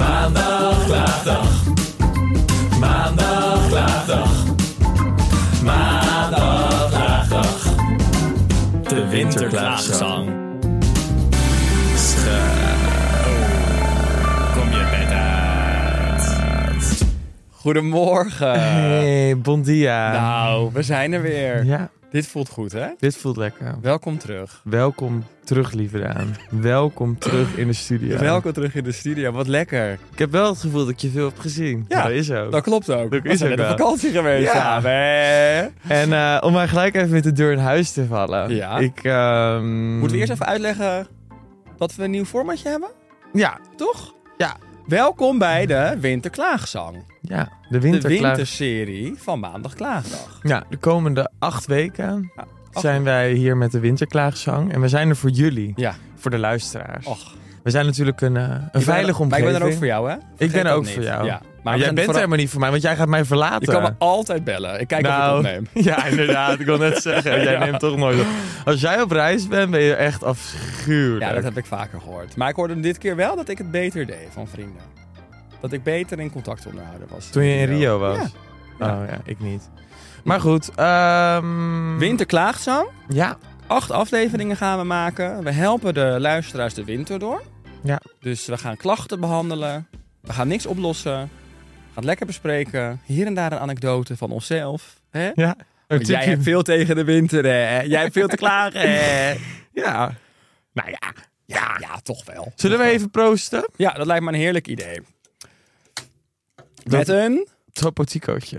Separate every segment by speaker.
Speaker 1: Maandag, klaagdag. Maandag, klaagdag. Maandag, klaagdag. De winterklaagzang. Kom je bed uit.
Speaker 2: Goedemorgen.
Speaker 3: Hey, bon dia.
Speaker 2: Nou, we zijn er weer.
Speaker 3: Ja,
Speaker 2: Dit voelt goed, hè?
Speaker 3: dit voelt lekker.
Speaker 2: Welkom terug.
Speaker 3: Welkom terug, lieve Daan. Welkom terug in de studio.
Speaker 2: Welkom terug in de studio. Wat lekker.
Speaker 3: Ik heb wel het gevoel dat ik je veel hebt gezien.
Speaker 2: Ja,
Speaker 3: dat is ook.
Speaker 2: Dat klopt ook.
Speaker 3: Dat
Speaker 2: We
Speaker 3: is
Speaker 2: zijn
Speaker 3: ook
Speaker 2: net op
Speaker 3: wel.
Speaker 2: vakantie geweest.
Speaker 3: Ja.
Speaker 2: samen, hè?
Speaker 3: En eh, om maar gelijk even met de deur in huis te vallen.
Speaker 2: Ja.
Speaker 3: Ik, ehm,
Speaker 2: Moeten we eerst even uitleggen dat we een nieuw formatje hebben?
Speaker 3: Ja,
Speaker 2: Toch?
Speaker 3: Ja.
Speaker 2: Welkom bij de Winterklaagzang.
Speaker 3: ja de
Speaker 2: De
Speaker 3: winterklaag.
Speaker 2: winterserie van Maandag Klaagdag.
Speaker 3: Ja, de komende acht weken
Speaker 2: Ja,
Speaker 3: zijn wij hier met de winterklaagzang. En we zijn er voor jullie,
Speaker 2: Ja.
Speaker 3: voor de luisteraars.
Speaker 2: Och.
Speaker 3: We zijn natuurlijk een, eh, een veilige
Speaker 2: Maar ik
Speaker 3: omgeving.
Speaker 2: ben er ook voor jou, hè? Vergeet
Speaker 3: ben er
Speaker 2: dat
Speaker 3: ook
Speaker 2: niet.
Speaker 3: voor jou.
Speaker 2: Ja.
Speaker 3: Maar
Speaker 2: we
Speaker 3: jij
Speaker 2: zijn
Speaker 3: bent er eh,
Speaker 2: vooral-
Speaker 3: helemaal niet voor mij, want jij gaat mij verlaten.
Speaker 2: Je kan me altijd bellen. Ik kijk
Speaker 3: Nou,
Speaker 2: of ik opneem.
Speaker 3: Ja, inderdaad. Ik wil net zeggen, jij neemt toch nooit op. Als jij op reis bent, ben je echt afschuwelijk.
Speaker 2: Ja, dat heb ik vaker gehoord. Maar ik hoorde hem dit keer wel dat ik het beter deed van vrienden. Dat ik beter in contact onderhouden was.
Speaker 3: Toen je in Rio was.
Speaker 2: Ja.
Speaker 3: Oh ja, ik niet. Maar goed. ehm
Speaker 2: Winterklaagzang.
Speaker 3: Ja,
Speaker 2: Acht afleveringen gaan we maken. We helpen de luisteraars de winter door.
Speaker 3: Ja.
Speaker 2: Dus we gaan klachten behandelen. We gaan niks oplossen. We gaan het lekker bespreken. Hier en daar een anekdote van onszelf. Hè?
Speaker 3: ja. Een
Speaker 2: Want Oh, jij
Speaker 3: tikje-
Speaker 2: hebt veel tegen de winter, hè? Jij hebt veel te klagen, hè?
Speaker 3: Ja. Nou ja.
Speaker 2: Ja, ja, toch wel.
Speaker 3: Zullen we even proosten?
Speaker 2: Ja, dat lijkt me een heerlijk idee.
Speaker 3: Dat-
Speaker 2: Met een
Speaker 3: Tropoticootje.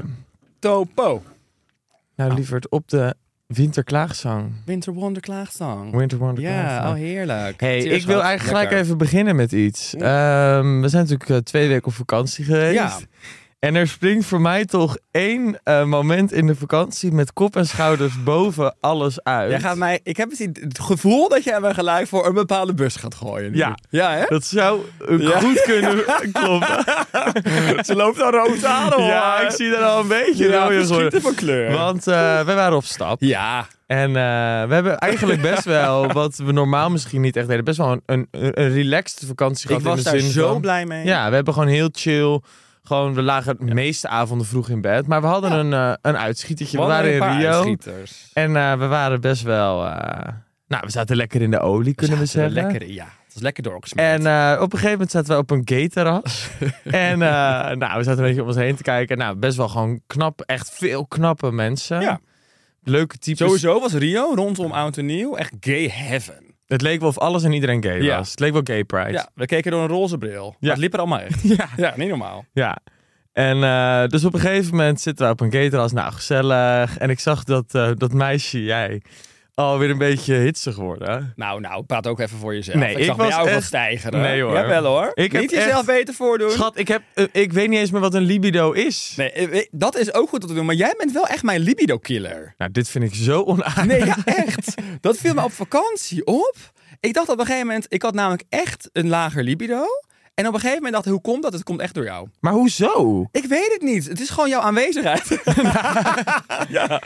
Speaker 2: topo. Ah.
Speaker 3: Nou, lieverd, op de winterklaagzang.
Speaker 2: Winter Wonder Klaagzang.
Speaker 3: Winter Wonder
Speaker 2: Ja, oh heerlijk.
Speaker 3: Hey,
Speaker 2: Cheers,
Speaker 3: ik wil
Speaker 2: schat.
Speaker 3: eigenlijk
Speaker 2: Lekker.
Speaker 3: gelijk even beginnen met iets. Ehm, we zijn natuurlijk eh, twee weken op vakantie geweest.
Speaker 2: Ja.
Speaker 3: En er springt voor mij toch één eh, moment in de vakantie met kop en schouders boven alles uit.
Speaker 2: Jij gaat mij, ik heb het, idee- het gevoel dat jij me gelijk voor een bepaalde bus gaat gooien. nu.
Speaker 3: Ja.
Speaker 2: Ja, hè?
Speaker 3: Dat zou eh,
Speaker 2: Ja.
Speaker 3: goed kunnen kloppen.
Speaker 2: Ze loopt al rood aan, hoor.
Speaker 3: ja, ik zie daar al een beetje
Speaker 2: Ja,
Speaker 3: rode
Speaker 2: verschieten
Speaker 3: worden.
Speaker 2: van kleur.
Speaker 3: Want eh we waren op stap.
Speaker 2: Ja.
Speaker 3: En eh, we hebben eigenlijk best wel, wat we normaal misschien niet echt deden, best wel een, een, een relaxed vakantie
Speaker 2: Ik
Speaker 3: gehad. in
Speaker 2: was
Speaker 3: de
Speaker 2: daar
Speaker 3: zin
Speaker 2: zo
Speaker 3: van-
Speaker 2: blij mee.
Speaker 3: Ja, we hebben gewoon heel chill. Gewoon, we lagen de meeste avonden vroeg in bed. Maar we hadden een, eh, een uitschietertje. We
Speaker 2: Wat
Speaker 3: waren
Speaker 2: een
Speaker 3: in
Speaker 2: paar
Speaker 3: Rio.
Speaker 2: uitschieters.
Speaker 3: En eh, we waren best wel... eh, nou, we zaten lekker in de olie, kunnen we,
Speaker 2: Zaten er
Speaker 3: zeggen.
Speaker 2: Lekker, ja, het was lekker doorgesmeerd.
Speaker 3: En eh, op een gegeven moment zaten we op een gayterras. en eh, nou, we zaten een beetje om ons heen te kijken. Nou, best wel gewoon knap. Echt veel knappe mensen.
Speaker 2: Ja.
Speaker 3: Leuke types.
Speaker 2: Sowieso was Rio rondom Oud en Nieuw echt gay heaven.
Speaker 3: Het leek wel of alles en iedereen gay
Speaker 2: Ja.
Speaker 3: was. Het leek wel gay pride.
Speaker 2: Ja, we keken door een roze bril. Ja.
Speaker 3: Ja.
Speaker 2: Het liep er allemaal echt.
Speaker 3: ja.
Speaker 2: Ja, niet normaal.
Speaker 3: Ja. En eh, dus op een gegeven moment zitten we op een gateras. Nou, gezellig. En ik zag dat, eh, dat meisje, jij, alweer een beetje hitsig worden.
Speaker 2: Nou, nou, praat ook even voor jezelf.
Speaker 3: Nee,
Speaker 2: ik,
Speaker 3: ik
Speaker 2: zag bij
Speaker 3: was
Speaker 2: jou wat
Speaker 3: echt-
Speaker 2: stijgeren.
Speaker 3: Nee, hoor.
Speaker 2: Jawel hoor.
Speaker 3: Ik heb
Speaker 2: Niet jezelf
Speaker 3: echt-
Speaker 2: beter voordoen.
Speaker 3: Schat, ik, heb, eh, ik weet niet eens meer wat een libido is.
Speaker 2: Nee, eh, eh, dat is ook goed om te doen. Maar jij bent wel echt mijn libido-killer.
Speaker 3: Nou, dit vind ik zo onaardig.
Speaker 2: Nee, ja, echt. Dat viel me op vakantie op. Ik dacht op een gegeven moment... Ik had namelijk echt een lager libido. En op een gegeven moment dacht ik, hoe komt dat? Het komt echt door jou.
Speaker 3: Maar hoezo?
Speaker 2: Ik weet het niet. Het is gewoon jouw aanwezigheid. ja.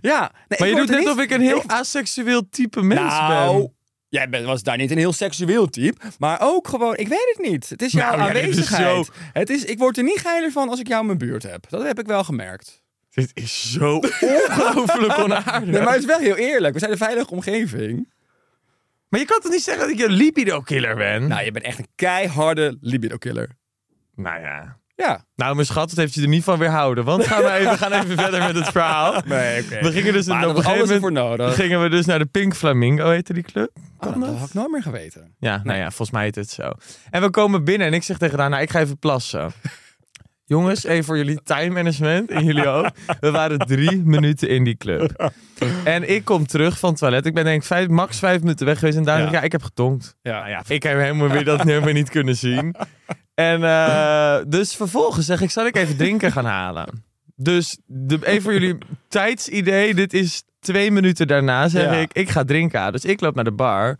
Speaker 2: ja. Nee,
Speaker 3: maar je
Speaker 2: word
Speaker 3: doet
Speaker 2: er
Speaker 3: net
Speaker 2: niet-
Speaker 3: of ik een heel asexueel type mens
Speaker 2: Nou,
Speaker 3: ben.
Speaker 2: jij bent, was daar niet een heel seksueel type, maar ook gewoon, ik weet het niet. Het is jouw
Speaker 3: Nou ja, dit is
Speaker 2: aanwezigheid.
Speaker 3: zo-
Speaker 2: Het is, ik word er niet geiler van als ik jou in mijn buurt heb. Dat heb ik wel gemerkt.
Speaker 3: Dit is zo ongelooflijk onaardig.
Speaker 2: Nee, maar
Speaker 3: maar...
Speaker 2: het is wel heel eerlijk. We zijn een veilige omgeving.
Speaker 3: je kan toch niet zeggen dat ik een libido-killer ben?
Speaker 2: Nou, je bent echt een keiharde libido-killer.
Speaker 3: Nou ja.
Speaker 2: Ja.
Speaker 3: Nou, mijn schat, dat heeft je er niet van weerhouden. Want gaan we, even, we gaan even verder met het verhaal.
Speaker 2: Nee, oké.
Speaker 3: We gingen dus
Speaker 2: Maar
Speaker 3: op een
Speaker 2: dat was
Speaker 3: gegeven
Speaker 2: alles
Speaker 3: moment
Speaker 2: ervoor nodig.
Speaker 3: gingen we dus naar de Pink Flamingo, heette die club.
Speaker 2: Oh, dat had ik nooit meer geweten.
Speaker 3: Ja, nou ja, volgens mij heet het zo. En we komen binnen en ik zeg tegen haar, nou, ik ga even plassen. Jongens, even voor jullie time management en jullie ook. We waren drie minuten in die club. En ik kom terug van het toilet. Ik ben denk ik vijf, max vijf minuten weg geweest. En daar
Speaker 2: Ja.
Speaker 3: ja. ik, ja, ik heb getonkt.
Speaker 2: Nou Ja, ja.
Speaker 3: Ah, Ik heb helemaal weer dat nummer niet kunnen zien. En eh, dus vervolgens zeg ik, zal ik even drinken gaan halen? Dus de, even voor jullie tijdsidee, dit is twee minuten daarna zeg
Speaker 2: Ja.
Speaker 3: ik, ik ga drinken halen. Dus ik loop naar de bar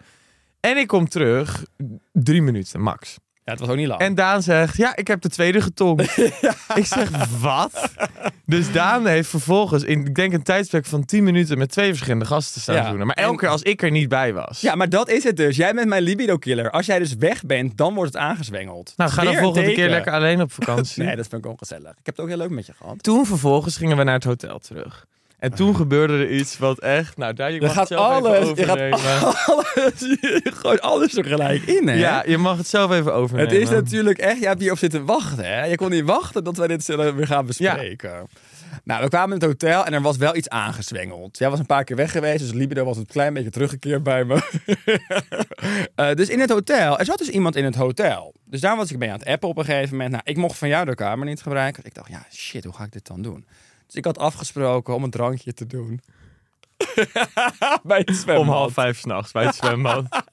Speaker 3: en ik kom terug, drie minuten max.
Speaker 2: het was ook niet lang.
Speaker 3: En Daan zegt, ja, ik heb de tweede getonkt. Ik zeg, wat? Dus Daan heeft vervolgens, in, ik denk een tijdsbek van 10 minuten, met twee verschillende gasten staan
Speaker 2: Ja.
Speaker 3: te doen. Maar elke
Speaker 2: En-
Speaker 3: keer als ik er niet bij was.
Speaker 2: ja, maar dat is het dus. Jij bent mijn libido-killer. Als jij dus weg bent, dan wordt het aangezwengeld.
Speaker 3: Nou, ga
Speaker 2: Weer
Speaker 3: dan
Speaker 2: een
Speaker 3: volgende keer
Speaker 2: teken.
Speaker 3: lekker alleen op vakantie.
Speaker 2: Nee, dat vind ik ongezellig. Ik heb het ook heel leuk met je gehad.
Speaker 3: Toen vervolgens gingen we naar het hotel terug. En toen gebeurde er iets wat echt... Nou, daar, je mag
Speaker 2: gaat
Speaker 3: het zelf
Speaker 2: alles-
Speaker 3: even
Speaker 2: je gaat
Speaker 3: overnemen.
Speaker 2: Alles, je gooit alles er gelijk in, hè?
Speaker 3: ja, je mag het zelf even overnemen.
Speaker 2: Het is natuurlijk echt, jij hebt hierop zitten wachten. Hè? Je kon niet wachten dat wij dit zullen weer gaan bespreken. Nou, we kwamen in het hotel en er was wel iets aangezwengeld. Jij was een paar keer weg geweest, dus libido was een klein beetje teruggekeerd bij me. Eh, dus in het hotel, er zat dus iemand in het hotel. Dus daar was ik mee aan het appen op een gegeven moment. Nou, ik mocht van jou de kamer niet gebruiken. Ik dacht, ja, shit, hoe ga ik dit dan doen? Dus ik had afgesproken om een drankje te doen. bij het zwembad.
Speaker 3: Om half vijf s'nachts bij het zwembad.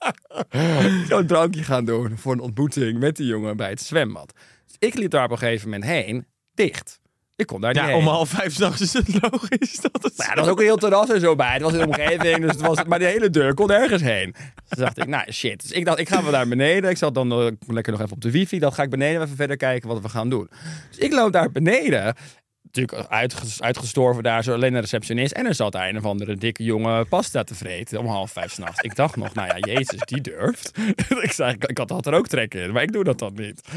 Speaker 2: zo'n drankje gaan doen voor een ontmoeting met die jongen bij het zwembad. Dus ik liep daar op een gegeven moment heen, dicht. Ik kon daar niet
Speaker 3: ja,
Speaker 2: heen.
Speaker 3: om half vijf s'nachts is het logisch dat het...
Speaker 2: Nou, er was ook een heel terras en zo bij. Het was in de omgeving, dus het was, maar de hele deur kon ergens heen. Dus dacht ik, nou shit. Dus ik dacht, ik ga wel naar beneden. Ik zat dan eh, lekker nog even op de wifi. Dan ga ik beneden even verder kijken wat we gaan doen. Dus ik loop daar beneden. Natuurlijk uitges- uitgestorven daar, zo alleen de receptionist. En er zat daar een of andere dikke jongen pasta te vreten om half vijf s'nachts. Ik dacht nog, nou ja, jezus, die durft. ik, zei, ik, ik had, had er ook trek in, maar ik doe dat dan niet.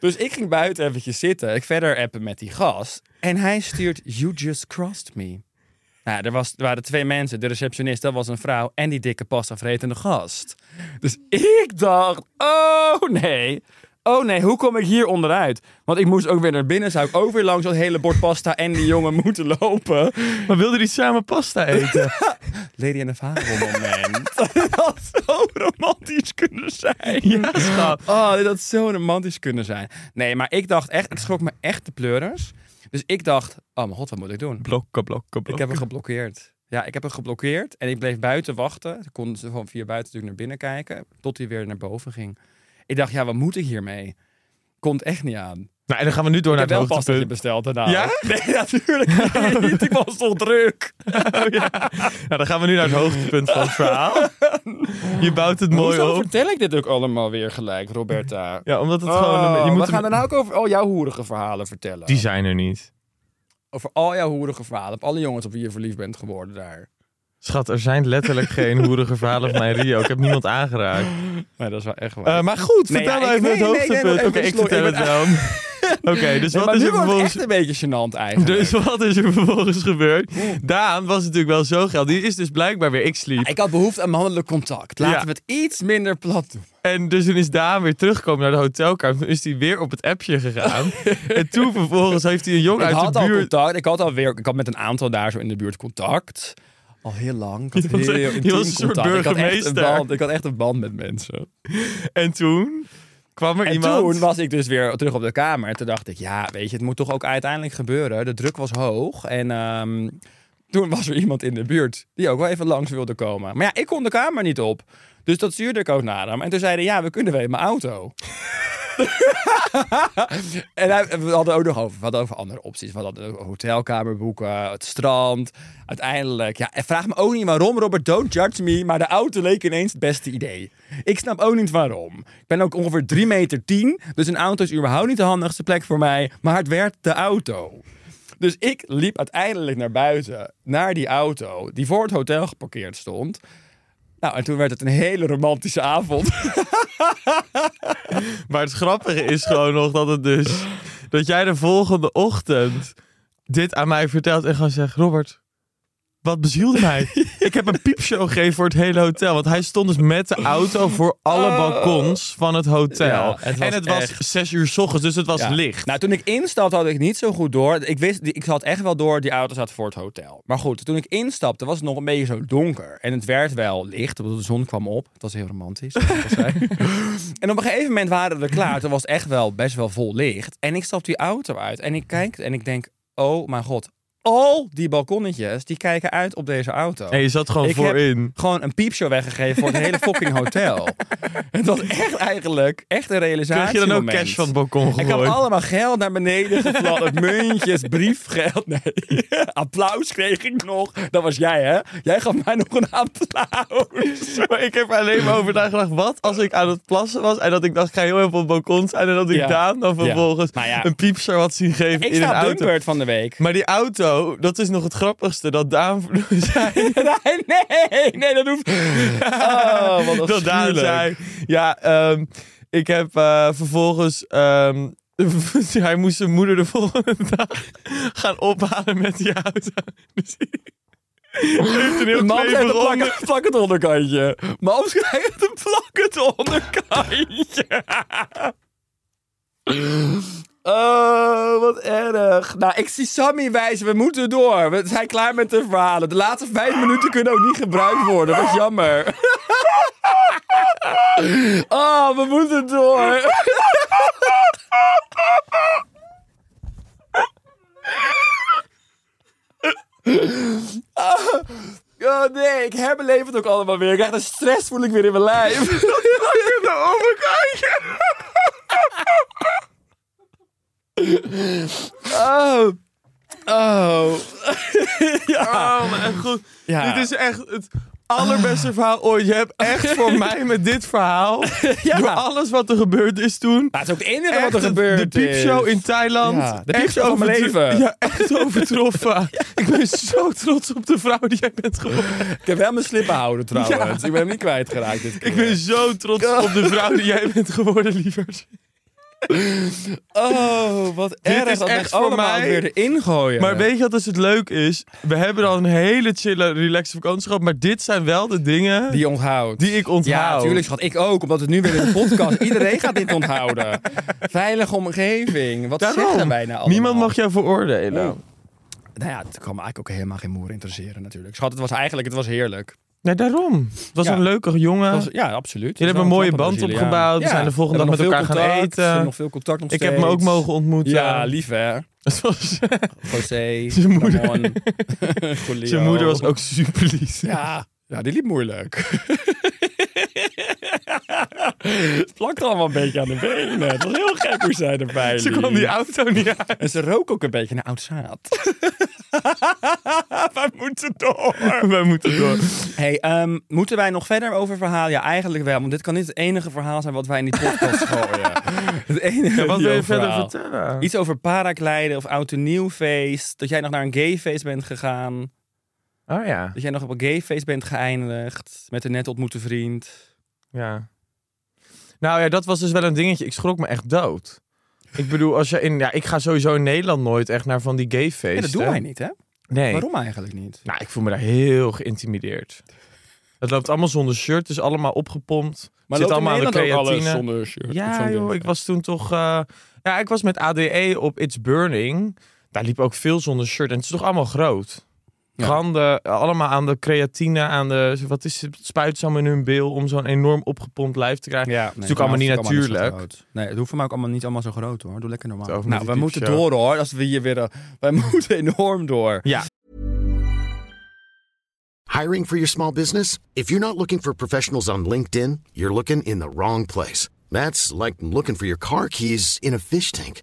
Speaker 2: Dus ik ging buiten eventjes zitten. Ik verder appen met die gast. En hij stuurt, you just crossed me. Nou, er, was, er waren twee mensen. De receptionist, dat was een vrouw. En die dikke pasta vretende gast. Dus ik dacht, oh nee. Oh nee, hoe kom ik hier onderuit? Want ik moest ook weer naar binnen. Zou ik ook weer langs dat hele bord pasta en die jongen moeten lopen?
Speaker 3: Maar wilden die samen pasta eten?
Speaker 2: Lady in the Fabel moment. dat had zo Oh, romantisch kunnen zijn. Ja, schat. Oh, dit had zo romantisch kunnen zijn. Nee, maar ik dacht echt, ik schrok me echt de pleurers. Dus ik dacht, oh mijn god, wat moet ik doen?
Speaker 3: blokken, blokken, blokken.
Speaker 2: Ik heb hem geblokkeerd. Ja, ik heb hem geblokkeerd en ik bleef buiten wachten. Ik kon ze van via buiten natuurlijk naar binnen kijken, tot hij weer naar boven ging. Ik dacht, ja, wat moet ik hiermee? Komt echt niet aan.
Speaker 3: Nou, en dan gaan we nu door
Speaker 2: Ik
Speaker 3: naar
Speaker 2: heb
Speaker 3: het
Speaker 2: wel pastaatje
Speaker 3: hoogtepunt.
Speaker 2: besteld daarna.
Speaker 3: Ja?
Speaker 2: Nee, natuurlijk niet. Ik was toch druk.
Speaker 3: Nou, dan gaan we nu naar het hoogtepunt van het verhaal. Je bouwt het mooi
Speaker 2: Hoezo
Speaker 3: op.
Speaker 2: vertel ik dit ook allemaal weer gelijk, Roberta?
Speaker 3: Ja, omdat het gewoon... een- je
Speaker 2: Oh, we
Speaker 3: moet
Speaker 2: gaan
Speaker 3: hem-
Speaker 2: daarna ook over al jouw hoerige verhalen vertellen.
Speaker 3: Die zijn er niet.
Speaker 2: Over al jouw hoerige verhalen. Op alle jongens op wie je verliefd bent geworden daar.
Speaker 3: Schat, er zijn letterlijk geen hoerige verhalen van mij in Rio. Ik heb niemand aangeraakt.
Speaker 2: Nee, dat is wel echt waar.
Speaker 3: Eh, maar goed,
Speaker 2: Nee,
Speaker 3: vertel
Speaker 2: ja,
Speaker 3: mij
Speaker 2: ik-
Speaker 3: even het
Speaker 2: nee, nee, nee, nee,
Speaker 3: hoogtepunt.
Speaker 2: nee,
Speaker 3: Oké,
Speaker 2: nee,
Speaker 3: ik
Speaker 2: nee,
Speaker 3: vertel
Speaker 2: nee,
Speaker 3: het dan. Oké, dus,
Speaker 2: Nee,
Speaker 3: wat
Speaker 2: maar
Speaker 3: is
Speaker 2: nu wordt het echt
Speaker 3: er vervolgens-
Speaker 2: een beetje gênant eigenlijk.
Speaker 3: dus wat is er vervolgens gebeurd? Daan was natuurlijk wel zo geil. Die is dus blijkbaar weer ik sliep.
Speaker 2: Ik had behoefte aan mannelijk contact. Laten
Speaker 3: Ja.
Speaker 2: we het iets minder plat doen.
Speaker 3: En dus toen is Daan weer teruggekomen naar de hotelkamer. Toen is hij weer op het appje gegaan. en toen vervolgens heeft hij een jongen
Speaker 2: ik
Speaker 3: uit
Speaker 2: had
Speaker 3: de
Speaker 2: al
Speaker 3: buurt...
Speaker 2: contact. Ik had al weer, ik had met een aantal daar zo in de buurt contact. Al heel lang. Ik had
Speaker 3: Je was-
Speaker 2: heel
Speaker 3: je
Speaker 2: intiem
Speaker 3: was een soort
Speaker 2: contact. Ik had, echt een
Speaker 3: burgemeester.
Speaker 2: band, ik had echt een band met mensen.
Speaker 3: En toen kwam er
Speaker 2: En
Speaker 3: iemand...
Speaker 2: toen was ik dus weer terug op de kamer. En toen dacht ik, ja, weet je, het moet toch ook uiteindelijk gebeuren. De druk was hoog. En ehm, toen was er iemand in de buurt die ook wel even langs wilde komen. Maar ja, ik kon de kamer niet op. Dus dat stuurde ik ook naar hem. En toen zeiden ja, we kunnen weer in mijn auto. en hij- we hadden ook nog over, we hadden over andere opties. We hadden ook een hotelkamer boeken, het strand. Uiteindelijk, ja, en vraag me ook niet waarom, Robert, don't judge me. Maar de auto leek ineens het beste idee. Ik snap ook niet waarom. Ik ben ook ongeveer 3 meter 10, dus een auto is überhaupt niet de handigste plek voor mij. Maar het werd de auto. Dus ik liep uiteindelijk naar buiten, naar die auto, die voor het hotel geparkeerd stond. Nou, en toen werd het een hele romantische avond.
Speaker 3: Maar het grappige is gewoon nog dat het dus... Dat jij de volgende ochtend dit aan mij vertelt en gewoon zegt... Robert, wat bezielde mij? ik heb een piepshow gegeven voor het hele hotel. Want hij stond dus met de auto voor alle balkons van het hotel.
Speaker 2: Oh. Ja, het was
Speaker 3: en het
Speaker 2: echt-
Speaker 3: was zes uur s ochtends, dus het was
Speaker 2: Ja.
Speaker 3: licht.
Speaker 2: Nou, toen ik instapte had ik niet zo goed door. Ik, wist, ik had echt wel door, die auto zat voor het hotel. Maar goed, toen ik instapte was het nog een beetje zo donker. En het werd wel licht, want de zon kwam op. Het was heel romantisch. zoals ik al zei. en op een gegeven moment waren we er klaar. Toen was het echt wel best wel vol licht. En ik stap die auto uit en ik kijk en ik denk, oh mijn god. Al die balkonnetjes, die kijken uit op deze auto.
Speaker 3: En je zat gewoon
Speaker 2: Ik heb
Speaker 3: voorin.
Speaker 2: gewoon een piepshow weggegeven voor het hele fucking hotel. Het was echt eigenlijk echt een realisatie.
Speaker 3: Krijg je dan ook cash van het balkon
Speaker 2: Ik had
Speaker 3: gegooid?
Speaker 2: allemaal geld naar beneden gefladderd. muntjes, briefgeld. Nee. Applaus kreeg ik nog. Dat was jij, hè? Jij gaf mij nog een applaus.
Speaker 3: Maar ik heb er alleen maar over nagedacht. Wat als ik aan het plassen was en dat ik dacht, ik ga heel even op het balkon staan. En dat ik
Speaker 2: Ja.
Speaker 3: Daan dan
Speaker 2: Ja.
Speaker 3: vervolgens
Speaker 2: Nou ja.
Speaker 3: een piepser had zien geven
Speaker 2: Ik
Speaker 3: in een
Speaker 2: sta op
Speaker 3: auto.
Speaker 2: Dumbert van de week.
Speaker 3: Maar die auto, dat is nog het grappigste. Dat Daan zei,
Speaker 2: Nee, nee, nee, dat hoeft Oh, wat
Speaker 3: dat Daan
Speaker 2: afschuwelijk.
Speaker 3: zei ja, ehm, ik heb eh, vervolgens... ehm, hij moest zijn moeder de volgende dag gaan ophalen met die auto. Dus hij heeft een heel
Speaker 2: Mams heeft
Speaker 3: kleverig
Speaker 2: een
Speaker 3: onder-
Speaker 2: plak, plak het onderkantje. Mams krijgt een plak het onderkantje. Oh, wat erg. Nou, ik zie Sammy wijzen. We moeten door. We zijn klaar met de verhalen. De laatste vijf minuten kunnen ook niet gebruikt worden. Wat jammer. Oh, we moeten door. Ah. Oh nee, ik herbeleef het ook allemaal weer. Ik krijg de stress voel ik weer in mijn lijf. Dat fucking overkantje. Oh. Oh.
Speaker 3: Oh, mijn goed.
Speaker 2: Ja.
Speaker 3: Dit is echt het allerbeste
Speaker 2: Ah.
Speaker 3: verhaal ooit. Je hebt echt voor mij met dit verhaal,
Speaker 2: Ja.
Speaker 3: door alles wat er gebeurd is toen...
Speaker 2: Maar het is ook het enige
Speaker 3: Echt
Speaker 2: wat er
Speaker 3: het-
Speaker 2: gebeurt
Speaker 3: De piepshow
Speaker 2: is.
Speaker 3: in Thailand.
Speaker 2: Ja, de
Speaker 3: echt
Speaker 2: piepshow van mijn
Speaker 3: overtro-
Speaker 2: leven.
Speaker 3: Ja, echt overtroffen. Ik ben zo trots op de vrouw die jij bent geworden.
Speaker 2: Ik heb wel mijn slippen houden trouwens. Ik ben hem niet kwijtgeraakt dit keer.
Speaker 3: Ik ben zo trots op de vrouw die jij bent geworden, lieverd.
Speaker 2: Oh, wat erg.
Speaker 3: is
Speaker 2: dat
Speaker 3: echt
Speaker 2: mensen
Speaker 3: voor
Speaker 2: allemaal
Speaker 3: mij-
Speaker 2: weer erin gooien.
Speaker 3: Maar weet je wat dus het leuk is? We hebben dan een hele chille, relaxed vakantie gehad. Maar dit zijn wel de dingen
Speaker 2: Die
Speaker 3: die,
Speaker 2: je onthoudt.
Speaker 3: ik onthoud.
Speaker 2: Ja, natuurlijk schat. Ik ook, omdat het nu weer in de podcast. Iedereen gaat dit onthouden. Veilige omgeving. Wat
Speaker 3: Daarom.
Speaker 2: zeggen wij nou allemaal?
Speaker 3: Niemand mag jou veroordelen.
Speaker 2: Nou ja, het kan me eigenlijk ook helemaal geen moer interesseren natuurlijk. Schat, het was eigenlijk, het was heerlijk.
Speaker 3: Nee, daarom. Het was
Speaker 2: Ja.
Speaker 3: een leuke jongen.
Speaker 2: Het was- ja, absoluut.
Speaker 3: Ah. Jullie
Speaker 2: Het was wel
Speaker 3: hebben een mooie
Speaker 2: knap
Speaker 3: band
Speaker 2: Braziliaan.
Speaker 3: opgebouwd. We zijn de volgende
Speaker 2: we
Speaker 3: dag
Speaker 2: hebben
Speaker 3: met
Speaker 2: nog
Speaker 3: elkaar
Speaker 2: veel
Speaker 3: gaan
Speaker 2: contact. We hebben
Speaker 3: eten.
Speaker 2: Nog veel contact nog
Speaker 3: ik heb hem ook
Speaker 2: steeds.
Speaker 3: mogen ontmoeten.
Speaker 2: Ja, lief hè.
Speaker 3: Het was,
Speaker 2: José,
Speaker 3: Zijn moeder.
Speaker 2: Ramon, Julio.
Speaker 3: zijn moeder was ook super lief.
Speaker 2: Ja, ja die liep moeilijk. Het plakte allemaal een beetje aan de benen. Het was heel gek hoe zij erbij
Speaker 3: Ze
Speaker 2: liep.
Speaker 3: kwam die auto niet uit.
Speaker 2: En ze rook ook een beetje naar oud zaad. Wij moeten door.
Speaker 3: Wij moeten door.
Speaker 2: Hey, ehm, moeten wij nog verder over verhalen? Ja, eigenlijk wel. Want dit kan niet het enige verhaal zijn wat wij in die podcast gooien. Het enige
Speaker 3: wat wil
Speaker 2: die
Speaker 3: je
Speaker 2: over
Speaker 3: verder
Speaker 2: verhaal.
Speaker 3: vertellen?
Speaker 2: Iets over parakleiden of oud en nieuw feest. Dat jij nog naar een gayfeest bent gegaan.
Speaker 3: Oh ja.
Speaker 2: Dat jij nog op een gayfeest bent geëindigd. Met een net ontmoette vriend.
Speaker 3: ja. Nou ja, dat was dus wel een dingetje. Ik schrok me echt dood. Ik bedoel, als je in, ja, ik ga sowieso in Nederland nooit echt naar van die gayfeesten.
Speaker 2: Ja, dat doen wij niet, hè?
Speaker 3: Nee.
Speaker 2: Waarom eigenlijk niet?
Speaker 3: Nou, ik voel me daar heel geïntimideerd. Het loopt allemaal zonder shirt, het is allemaal opgepompt.
Speaker 2: Maar
Speaker 3: zit
Speaker 2: loopt in
Speaker 3: allemaal aan de
Speaker 2: Nederland ook alles
Speaker 3: creatine.
Speaker 2: zonder shirt? of
Speaker 3: Ja,
Speaker 2: zo'n
Speaker 3: joh,
Speaker 2: ding?
Speaker 3: ik was toen toch. eh, ja, ik was met ADE op It's Burning. Daar liep ook veel zonder shirt. En het is toch allemaal groot.
Speaker 2: Ja.
Speaker 3: Branden, eh, allemaal aan de creatine, aan de. Wat is het? Spuitzaam in hun bil om zo'n enorm opgepompt lijf te krijgen.
Speaker 2: Ja,
Speaker 3: natuurlijk allemaal niet natuurlijk.
Speaker 2: Nee, het hoeft voor mij ook allemaal niet allemaal zo groot hoor. Doe lekker normaal.
Speaker 3: Het over
Speaker 2: nou,
Speaker 3: met
Speaker 2: we
Speaker 3: die
Speaker 2: moeten
Speaker 3: piepshow.
Speaker 2: door hoor. Als we hier weer, eh, wij moeten enorm door.
Speaker 3: Ja.
Speaker 4: Hiring for your small business? If you're not looking for professionals on LinkedIn, you're looking in the wrong place. That's like looking for your car keys in a fish tank.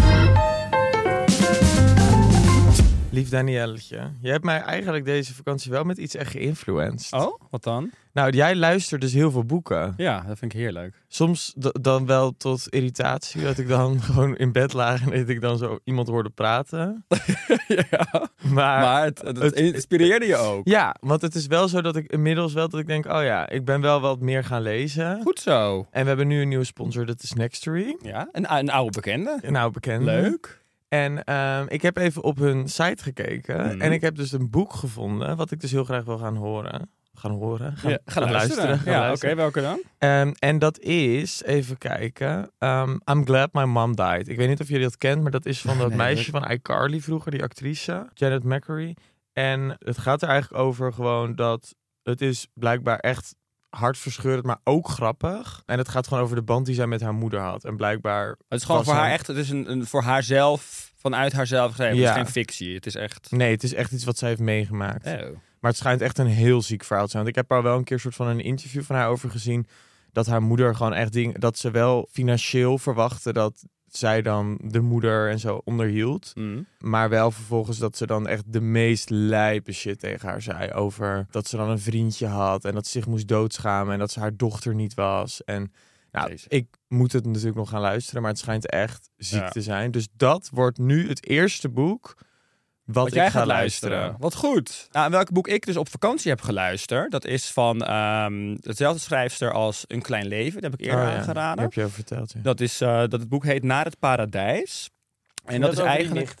Speaker 3: Lief Danielletje, je hebt mij eigenlijk deze vakantie wel met iets echt geïnfluenced.
Speaker 2: Oh, wat dan?
Speaker 3: Nou, jij luistert dus heel veel boeken.
Speaker 2: Ja, dat vind ik heerlijk.
Speaker 3: Soms d- dan wel tot irritatie, dat ik dan gewoon in bed lag en dat ik dan zo iemand hoorde praten.
Speaker 2: ja.
Speaker 3: Maar,
Speaker 2: Maar het, het,
Speaker 3: het-
Speaker 2: inspireerde je ook.
Speaker 3: ja, want het is wel zo dat ik inmiddels wel dat ik denk, oh ja, ik ben wel wat meer gaan lezen.
Speaker 2: Goed zo.
Speaker 3: En we hebben nu een nieuwe sponsor, dat is Nextory.
Speaker 2: Ja, een, een oude bekende.
Speaker 3: Nou, bekend.
Speaker 2: Leuk.
Speaker 3: En ehm, ik heb even op hun site gekeken.
Speaker 2: Mhm.
Speaker 3: En ik heb dus een boek gevonden, wat ik dus heel graag wil gaan horen. Gaan horen? Gaan,
Speaker 2: Ja,
Speaker 3: gaan gaan
Speaker 2: Ja, oké,
Speaker 3: luisteren.
Speaker 2: welke dan?
Speaker 3: Ehm, en dat is, even kijken, ehm, I'm Glad My Mom Died. Ik weet niet of jullie dat kent, maar dat is van dat
Speaker 2: Oh, Nee,
Speaker 3: meisje van iCarly vroeger, die actrice, Janet McCurry. En het gaat er eigenlijk over gewoon dat het is blijkbaar echt hartverscheurend, maar ook grappig. En het gaat gewoon over de band die zij met haar moeder had. En blijkbaar...
Speaker 2: Het is gewoon
Speaker 3: was
Speaker 2: voor haar
Speaker 3: een-
Speaker 2: echt, het is een, een voor haarzelf, vanuit haarzelf geschreven. Het
Speaker 3: Ja.
Speaker 2: is geen fictie, het is echt...
Speaker 3: Nee, het is echt iets wat zij heeft meegemaakt.
Speaker 2: Oh.
Speaker 3: Maar het schijnt echt een heel ziek verhaal te zijn. Want ik heb er wel een keer soort van een interview van haar over gezien. Dat haar moeder gewoon echt ding. Dat ze wel financieel verwachtte dat zij dan de moeder en zo onderhield.
Speaker 2: Mm.
Speaker 3: Maar wel vervolgens dat ze dan echt de meest lijpe shit tegen haar zei. Over dat ze dan een vriendje had. En dat ze zich moest doodschamen. En dat ze haar dochter niet was. En nou,
Speaker 2: Jezus.
Speaker 3: ik moet het natuurlijk nog gaan luisteren. Maar het schijnt echt ziek
Speaker 2: Ja.
Speaker 3: te zijn. Dus dat wordt nu het eerste boek. Wat,
Speaker 2: Wat
Speaker 3: ik
Speaker 2: jij
Speaker 3: ga
Speaker 2: gaat luisteren. Wat goed. Nou, en welk boek ik dus op vakantie heb geluisterd, dat is van ehm dezelfde schrijfster als Een Klein Leven. Dat heb ik eerder
Speaker 3: Oh ja,
Speaker 2: aangeraden.
Speaker 3: Heb je over verteld, ja.
Speaker 2: Dat, is, eh, dat het boek heet Naar het Paradijs. En dat is eigenlijk.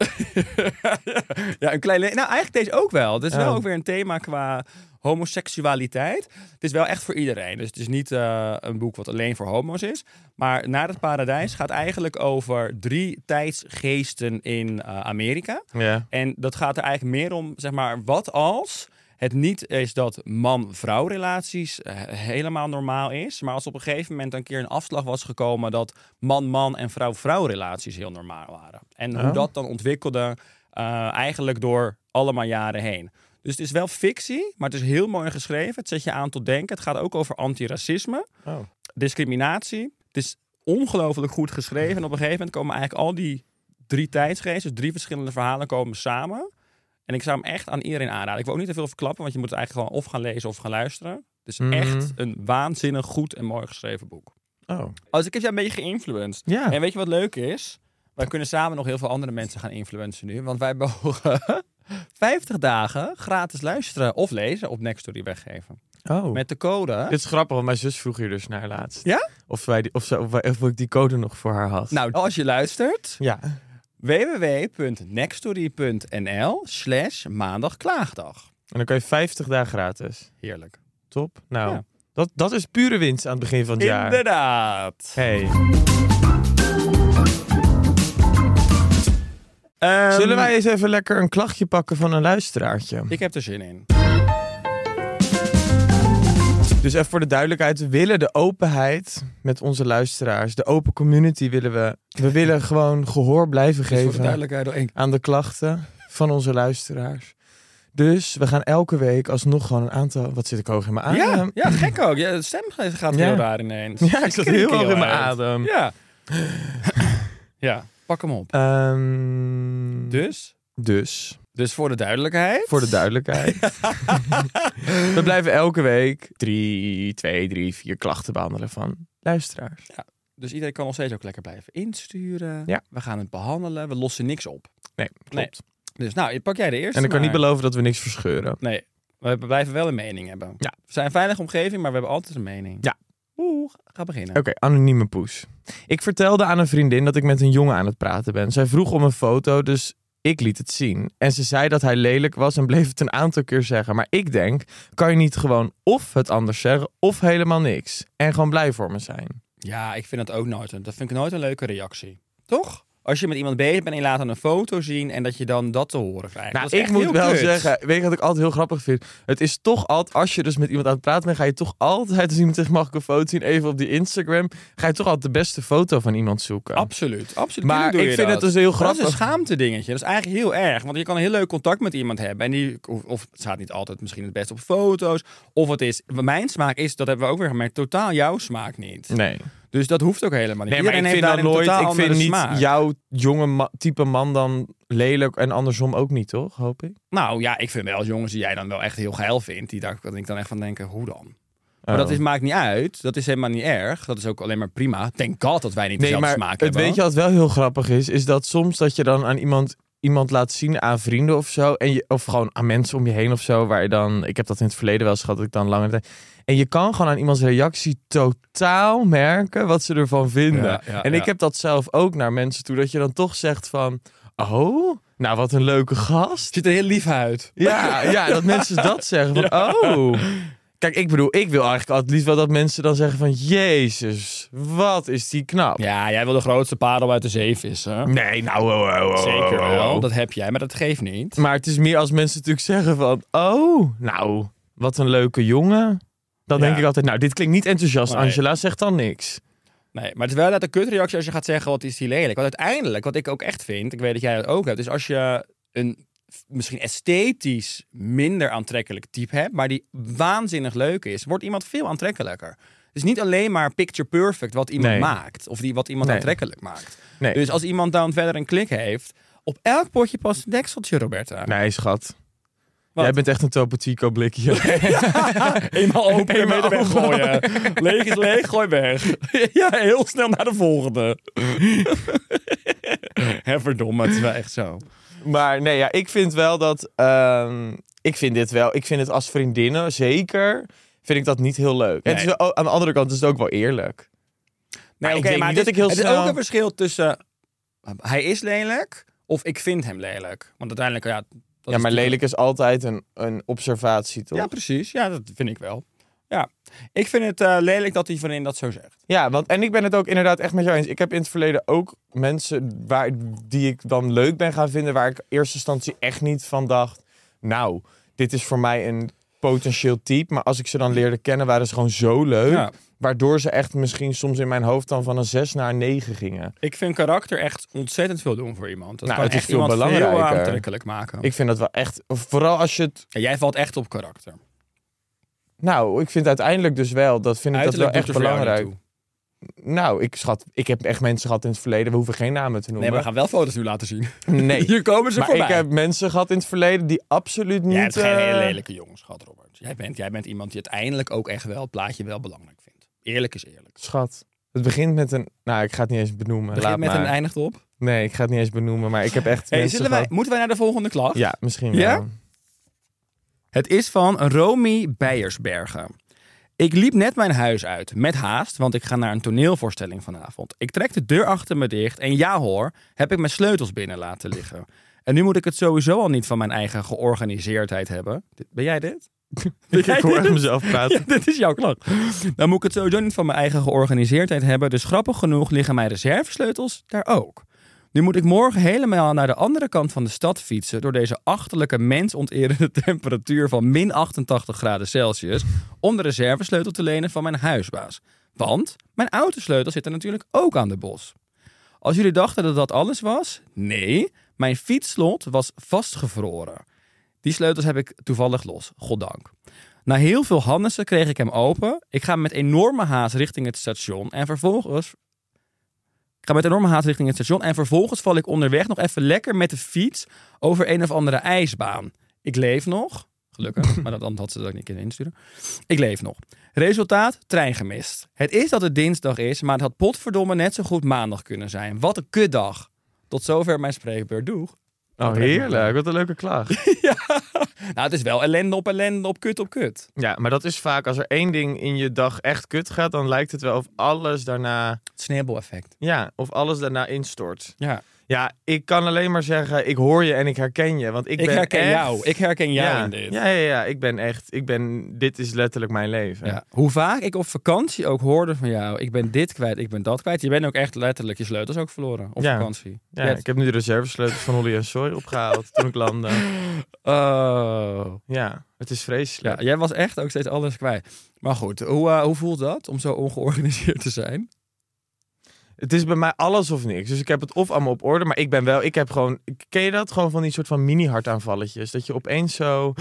Speaker 2: ja, een klein. le- Nou, eigenlijk deze ook wel. Het is wel
Speaker 3: Oh.
Speaker 2: ook weer een thema qua homoseksualiteit. Het is wel echt voor iedereen. Dus het is niet eh, een boek wat alleen voor homo's is. Maar Naar het Paradijs gaat eigenlijk over drie tijdsgeesten in eh, Amerika.
Speaker 3: Ja.
Speaker 2: En dat gaat er eigenlijk meer om, zeg maar, wat als het niet is dat man-vrouw relaties eh, helemaal normaal is, maar als op een gegeven moment een keer een afslag was gekomen dat man-man en vrouw-vrouw relaties heel normaal waren. En hoe
Speaker 3: Oh.
Speaker 2: dat dan ontwikkelde eh, eigenlijk door allemaal jaren heen. Dus het is wel fictie, maar het is heel mooi geschreven. Het zet je aan tot denken. Het gaat ook over antiracisme
Speaker 3: Oh.
Speaker 2: discriminatie. Het is ongelooflijk goed geschreven. En op een gegeven moment komen eigenlijk al die drie tijdsgeesten, drie verschillende verhalen komen samen. En ik zou hem echt aan iedereen aanraden. Ik wil ook niet te veel verklappen, want je moet het eigenlijk gewoon of gaan lezen of gaan luisteren. Het is
Speaker 3: Mhm.
Speaker 2: echt een waanzinnig goed en mooi geschreven boek.
Speaker 3: Oh.
Speaker 2: Als ik heb jou een beetje geïnfluenced.
Speaker 3: Ja.
Speaker 2: En weet je wat leuk is? Wij kunnen samen nog heel veel andere mensen gaan influencen nu. Want wij mogen 50 dagen gratis luisteren of lezen op Nextory weggeven.
Speaker 3: Oh.
Speaker 2: Met de code...
Speaker 3: Dit is grappig, want mijn zus vroeg hier dus naar laatst.
Speaker 2: Ja?
Speaker 3: Of, wij die, of, ze, of, wij- of ik die code nog voor haar had.
Speaker 2: Nou, als je luistert,
Speaker 3: Ja.
Speaker 2: www.nextory.nl slash maandagklaagdag.
Speaker 3: En dan kan je 50 dagen gratis.
Speaker 2: Heerlijk.
Speaker 3: Top. Nou,
Speaker 2: Ja.
Speaker 3: dat, dat is pure winst aan het begin van het jaar.
Speaker 2: Inderdaad.
Speaker 3: Hey.
Speaker 2: Ehm,
Speaker 3: Zullen wij eens even lekker een klachtje pakken van een luisteraartje?
Speaker 2: Ik heb er zin in.
Speaker 3: Dus even voor de duidelijkheid, we willen de openheid met onze luisteraars. De open community willen we. We willen gewoon gehoor blijven
Speaker 2: Voor de
Speaker 3: geven.
Speaker 2: duidelijkheid door één.
Speaker 3: aan de klachten van onze luisteraars. Dus we gaan elke week alsnog gewoon een aantal. Wat zit ik hoog in mijn adem?
Speaker 2: Ja, ja, gek ook. Ja, de stem gaat
Speaker 3: Ah, ehm. Ja.
Speaker 2: heel raar ineens.
Speaker 3: Ja, ik zat
Speaker 2: kreeg
Speaker 3: heel hoog in mijn
Speaker 2: uit.
Speaker 3: adem.
Speaker 2: Ja. ja, pak hem op.
Speaker 3: Ehm,
Speaker 2: Dus,
Speaker 3: dus,
Speaker 2: dus voor de duidelijkheid.
Speaker 3: voor de duidelijkheid. we blijven elke week drie, twee, drie, vier klachten behandelen van luisteraars.
Speaker 2: Dus iedereen kan nog steeds ook lekker blijven insturen.
Speaker 3: Ja.
Speaker 2: We gaan het behandelen. We lossen niks op.
Speaker 3: Nee, klopt.
Speaker 2: Nee, Dus nou, pak jij de eerste
Speaker 3: en ik kan niet
Speaker 2: maar.
Speaker 3: beloven dat we niks verscheuren.
Speaker 2: Nee, we blijven wel een mening hebben.
Speaker 3: Ja.
Speaker 2: We zijn een veilige omgeving, maar we hebben altijd een mening.
Speaker 3: Ja.
Speaker 2: Oeh, ga beginnen.
Speaker 3: Oké, anonieme poes. Ik vertelde aan een vriendin dat ik met een jongen aan het praten ben. Zij vroeg om een foto, dus ik liet het zien. En ze zei dat hij lelijk was en bleef het een aantal keer zeggen. Maar ik denk, kan je niet gewoon of het anders zeggen of helemaal niks? En gewoon blij voor me zijn.
Speaker 2: Ja, ik vind dat ook nooit. een- Dat vind ik nooit een leuke reactie. Toch? Als je met iemand bezig bent en je laat dan een foto zien en dat je dan dat te horen krijgt.
Speaker 3: Nou,
Speaker 2: Dat is
Speaker 3: ik
Speaker 2: echt
Speaker 3: moet
Speaker 2: heel
Speaker 3: wel
Speaker 2: kut.
Speaker 3: zeggen, weet je wat ik altijd heel grappig vind? Het is toch altijd, als je dus met iemand aan het praten bent, ga je toch altijd, als iemand zegt, mag ik een foto zien, even op die Instagram, ga je toch altijd de beste foto van iemand zoeken.
Speaker 2: Absoluut, absoluut.
Speaker 3: Maar
Speaker 2: Tuurlijk doe
Speaker 3: ik
Speaker 2: je
Speaker 3: vind
Speaker 2: dat.
Speaker 3: het dus heel
Speaker 2: Maar Dat is een
Speaker 3: grappig.
Speaker 2: schaamte dingetje. Dat is eigenlijk heel erg. Want je kan een heel leuk contact met iemand hebben. En die, of, of het staat niet altijd misschien het best op foto's. Of het is, mijn smaak is, dat hebben we ook weer gemerkt, totaal jouw smaak niet.
Speaker 3: Nee.
Speaker 2: Dus dat hoeft ook helemaal niet.
Speaker 3: Nee, maar ik
Speaker 2: Iedereen
Speaker 3: vind
Speaker 2: heeft daar een
Speaker 3: dat nooit.
Speaker 2: totaal
Speaker 3: Ik
Speaker 2: andere
Speaker 3: vind niet
Speaker 2: smaak.
Speaker 3: jouw jonge ma- type man dan lelijk en andersom ook niet, toch? Hoop ik.
Speaker 2: Nou ja, ik vind wel jongens die jij dan wel echt heel geil vindt. Die daar kan ik dan echt van denken, hoe dan? Maar
Speaker 3: Oh.
Speaker 2: dat is, maakt niet uit. Dat is helemaal niet erg. Dat is ook alleen maar prima. Thank God dat wij niet
Speaker 3: Nee,
Speaker 2: dezelfde
Speaker 3: maar
Speaker 2: smaak
Speaker 3: het
Speaker 2: hebben.
Speaker 3: weet je wat wel heel grappig is, is dat soms dat je dan aan iemand iemand laat zien aan vrienden of zo, en je, of gewoon aan mensen om je heen of zo, waar je dan, ik heb dat in het verleden wel eens gehad, dat ik dan langer tijd, en je kan gewoon aan iemands reactie totaal merken wat ze ervan vinden.
Speaker 2: Ja, ja,
Speaker 3: en
Speaker 2: ja.
Speaker 3: ik heb dat zelf ook naar mensen toe, dat je dan toch zegt van, oh, nou wat een leuke gast.
Speaker 2: ziet er heel lief uit.
Speaker 3: Ja, ja, dat mensen dat zeggen. Van, Oh. Kijk, ik bedoel, ik wil eigenlijk altijd liefst wel dat mensen dan zeggen van... Jezus, wat is die knap.
Speaker 2: Ja, jij wil de grootste parel uit de zee vissen.
Speaker 3: Nee, nou... oh, oh, oh, oh,
Speaker 2: Zeker
Speaker 3: oh,
Speaker 2: wel.
Speaker 3: oh.
Speaker 2: Dat heb jij, maar dat geeft niet.
Speaker 3: Maar het is meer als mensen natuurlijk zeggen van... Oh, nou, wat een leuke jongen. Dan
Speaker 2: Ja.
Speaker 3: denk ik altijd, nou, dit klinkt niet enthousiast.
Speaker 2: Nee.
Speaker 3: Angela zegt dan niks.
Speaker 2: Nee, maar het is wel net een kutreactie als je gaat zeggen, wat is die lelijk. Want uiteindelijk, wat ik ook echt vind, ik weet dat jij dat ook hebt, is als je een f- misschien esthetisch minder aantrekkelijk type hebt, maar die waanzinnig leuk is, wordt iemand veel aantrekkelijker. Dus niet alleen maar picture perfect wat iemand
Speaker 3: Nee.
Speaker 2: maakt, of die, wat iemand
Speaker 3: Nee.
Speaker 2: aantrekkelijk maakt.
Speaker 3: Nee.
Speaker 2: Dus als iemand dan verder een klik heeft, op elk potje past een dekseltje, Roberta.
Speaker 3: Nee, schat.
Speaker 2: Wat?
Speaker 3: Jij bent echt een Topotico blikje.
Speaker 2: Eenmaal open en
Speaker 3: Eenmaal
Speaker 2: weer weggooien. Leeg is leeg, gooi weg. ja, heel snel naar de volgende. Hè, verdomme, het is wel echt zo.
Speaker 3: Maar nee, ja, ik vind wel dat. ehm, ik vind dit wel. Ik vind het als vriendinnen zeker. Vind ik dat niet heel leuk. En het is
Speaker 2: Nee.
Speaker 3: wel- aan de andere kant is het ook wel eerlijk.
Speaker 2: Nee,
Speaker 3: ik
Speaker 2: oké,
Speaker 3: denk
Speaker 2: maar
Speaker 3: niet
Speaker 2: het
Speaker 3: dat ik
Speaker 2: is-
Speaker 3: heel
Speaker 2: het is
Speaker 3: snel-
Speaker 2: ook een verschil tussen uh, hij is lelijk of ik vind hem lelijk. Want uiteindelijk, ja... dat
Speaker 3: ja,
Speaker 2: is
Speaker 3: maar
Speaker 2: natuurlijk-
Speaker 3: lelijk is altijd een, een observatie, toch?
Speaker 2: Ja,
Speaker 3: Ja,
Speaker 2: precies. Ja, dat vind ik wel. Ja, ik vind het eh, lelijk dat die vriendin dat zo zegt.
Speaker 3: want, en ik ben het ook inderdaad echt met jou eens. Ik heb in het verleden ook mensen waar, die ik dan leuk ben gaan vinden. waar ik in eerste instantie echt niet van dacht. Nou, dit is voor mij een potentieel type. Maar als ik ze dan leerde kennen, waren ze gewoon zo leuk.
Speaker 2: Ja.
Speaker 3: Waardoor ze echt misschien soms in mijn hoofd dan van een 6 naar een 9 gingen.
Speaker 2: Ik vind karakter echt ontzettend veel doen voor iemand. Dat
Speaker 3: Nou,
Speaker 2: kan
Speaker 3: het is
Speaker 2: echt
Speaker 3: veel
Speaker 2: iemand heel
Speaker 3: belangrijker.
Speaker 2: aantrekkelijk maken.
Speaker 3: Ik vind dat wel echt. Vooral als je het.
Speaker 2: En jij valt echt op karakter.
Speaker 3: Nou, ik vind uiteindelijk dus wel. Dat vind ik
Speaker 2: Uiterlijk
Speaker 3: dat
Speaker 2: doet
Speaker 3: wel
Speaker 2: er
Speaker 3: echt
Speaker 2: voor jou niet
Speaker 3: belangrijk.
Speaker 2: toe.
Speaker 3: Nou, ik schat. Ik heb echt mensen gehad in het verleden. We hoeven geen namen te
Speaker 2: Nee,
Speaker 3: noemen.
Speaker 2: maar we gaan wel foto's nu laten zien.
Speaker 3: Nee.
Speaker 2: Hier komen ze
Speaker 3: Maar
Speaker 2: voorbij.
Speaker 3: ik heb mensen gehad in het verleden die absoluut niet.
Speaker 2: Jij hebt geen
Speaker 3: eh,
Speaker 2: hele lelijke jongens gehad, Robert. Jij bent, jij bent iemand die uiteindelijk ook echt wel het plaatje wel belangrijk vindt. Eerlijk is eerlijk.
Speaker 3: Schat. Het begint met een. Nou, ik ga het niet eens benoemen.
Speaker 2: Begint
Speaker 3: Laat
Speaker 2: met
Speaker 3: maar.
Speaker 2: een eindigt op.
Speaker 3: Nee, ik ga het niet eens benoemen. Maar ik heb echt.
Speaker 2: Hey,
Speaker 3: mensen
Speaker 2: zullen wij,
Speaker 3: gehad-
Speaker 2: moeten wij naar de volgende klacht?
Speaker 3: Ja, misschien
Speaker 2: Ja?
Speaker 3: wel.
Speaker 2: Het is van Romy Beiersbergen. Ik liep net mijn huis uit, met haast, want ik ga naar een toneelvoorstelling vanavond. Ik trek de deur achter me dicht en ja hoor, heb ik mijn sleutels binnen laten liggen. En nu moet ik het sowieso al niet van mijn eigen georganiseerdheid hebben. Dit- Ben jij dit? Ben jij
Speaker 3: Ik hoor
Speaker 2: dit?
Speaker 3: echt mezelf praten.
Speaker 2: Ja, dit is jouw klacht. Dan moet ik het sowieso niet van mijn eigen georganiseerdheid hebben. Dus grappig genoeg liggen mijn reservesleutels daar ook. Nu moet ik morgen helemaal naar de andere kant van de stad fietsen... door deze achterlijke mensonterende temperatuur van min 88 graden Celsius... om de reservesleutel te lenen van mijn huisbaas. Want mijn autosleutel zit er natuurlijk ook aan de bos. Als jullie dachten dat dat alles was? Nee, mijn fietsslot was vastgevroren. Die sleutels heb ik toevallig los, goddank. Na heel veel handensen kreeg ik hem open. Ik ga met enorme haast richting het station en vervolgens... Ik ga met enorme haast richting het station en vervolgens val ik onderweg nog even lekker met de fiets over een of andere ijsbaan. Ik leef nog. Gelukkig, maar dat dan had ze dat ook niet kunnen insturen. Ik leef nog. Resultaat, trein gemist. Het is dat het dinsdag is, maar het had potverdomme net zo goed maandag kunnen zijn. Wat een kutdag. Tot zover mijn spreekbeurt. Doeg.
Speaker 3: Oh, heerlijk. Wat een leuke klacht.
Speaker 2: Nou, het is wel ellende op ellende op kut op kut.
Speaker 3: Ja, maar dat is vaak als er één ding in je dag echt kut gaat, dan lijkt het wel of alles daarna,
Speaker 2: Het sneeuwbaleffect.
Speaker 3: ja, of alles daarna instort.
Speaker 2: Ja.
Speaker 3: Ja, ik kan alleen maar zeggen, ik hoor je en ik herken je, want ik,
Speaker 2: Ik
Speaker 3: ben
Speaker 2: herken
Speaker 3: echt-
Speaker 2: jou. Ik herken jou
Speaker 3: ja,
Speaker 2: in dit.
Speaker 3: Ja, ja, ja, ik ben echt, ik ben, dit is letterlijk mijn leven.
Speaker 2: Ja. Hoe vaak ik op vakantie ook hoorde van jou, ik ben dit kwijt, ik ben dat kwijt. Je bent ook echt letterlijk je sleutels ook verloren op
Speaker 3: Ja.
Speaker 2: vakantie.
Speaker 3: Ja,
Speaker 2: Je hebt-
Speaker 3: ik heb nu de reservesleutels van Holly en Soy opgehaald toen ik landde.
Speaker 2: Oh.
Speaker 3: Ja, het is
Speaker 2: Ja,
Speaker 3: vreselijk.
Speaker 2: jij was echt ook steeds alles kwijt. Maar goed, hoe, eh, hoe voelt dat om zo ongeorganiseerd te zijn?
Speaker 3: Het is bij mij alles of niks. Dus ik heb het of allemaal op orde, maar ik ben wel, ik heb gewoon, ken je dat? Gewoon van die soort van mini-hartaanvalletjes. Dat je opeens zo,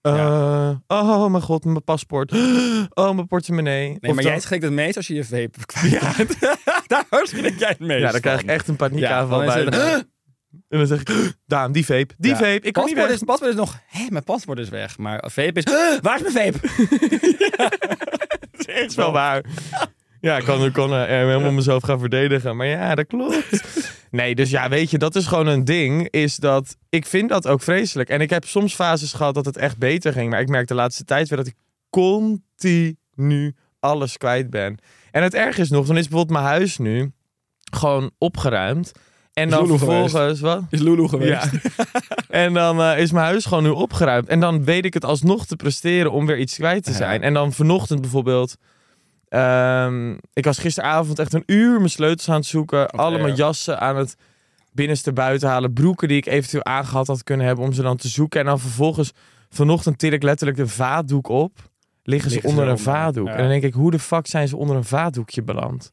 Speaker 3: Eh, Oh, mijn god, mijn paspoort. Oh, mijn portemonnee.
Speaker 2: Nee,
Speaker 3: Of
Speaker 2: maar
Speaker 3: dan-
Speaker 2: jij schrikt het meest als je je vape kwijt raakt. Daar schrik jij het meest
Speaker 3: Ja, dan krijg ik
Speaker 2: van.
Speaker 3: echt een paniekaanval
Speaker 2: Ja, dan
Speaker 3: bij.
Speaker 2: is het-
Speaker 3: En dan zeg ik, Daan, die vape, die
Speaker 2: Ja.
Speaker 3: vape, ik kan niet
Speaker 2: Paspoort
Speaker 3: weg.
Speaker 2: Is, paspoort is nog, hé, mijn paspoort is weg. Maar vape is, "Huh, waar is mijn vape?
Speaker 3: Dat is wel waar. Ja, ik kan, ik kan eh, helemaal mezelf gaan verdedigen. Maar ja, dat klopt. Nee, dus ja, weet je, dat is gewoon een ding. Is dat ik vind dat ook vreselijk. En ik heb soms fases gehad dat het echt beter ging. Maar ik merk de laatste tijd weer dat ik continu alles kwijt ben. En het erg is nog, dan is bijvoorbeeld mijn huis nu gewoon opgeruimd. En dan
Speaker 2: Zulu geweest.
Speaker 3: vervolgens, wat?
Speaker 2: Is Lulu geweest.
Speaker 3: En dan eh, is mijn huis gewoon nu opgeruimd. En dan weet ik het alsnog te presteren om weer iets kwijt te
Speaker 2: Ja.
Speaker 3: zijn. En dan vanochtend bijvoorbeeld. ehm, ik was gisteravond echt een uur mijn sleutels aan het zoeken. alle mijn
Speaker 2: erg.
Speaker 3: jassen aan het binnenste buiten halen. Broeken die ik eventueel aangehad had kunnen hebben om ze dan te zoeken. En dan vervolgens vanochtend til ik letterlijk de vaatdoek op. Liggen ze
Speaker 2: Liggen ze
Speaker 3: onder een
Speaker 2: onder,
Speaker 3: vaatdoek.
Speaker 2: ja.
Speaker 3: En dan denk ik, hoe de fuck zijn ze onder een vaatdoekje beland?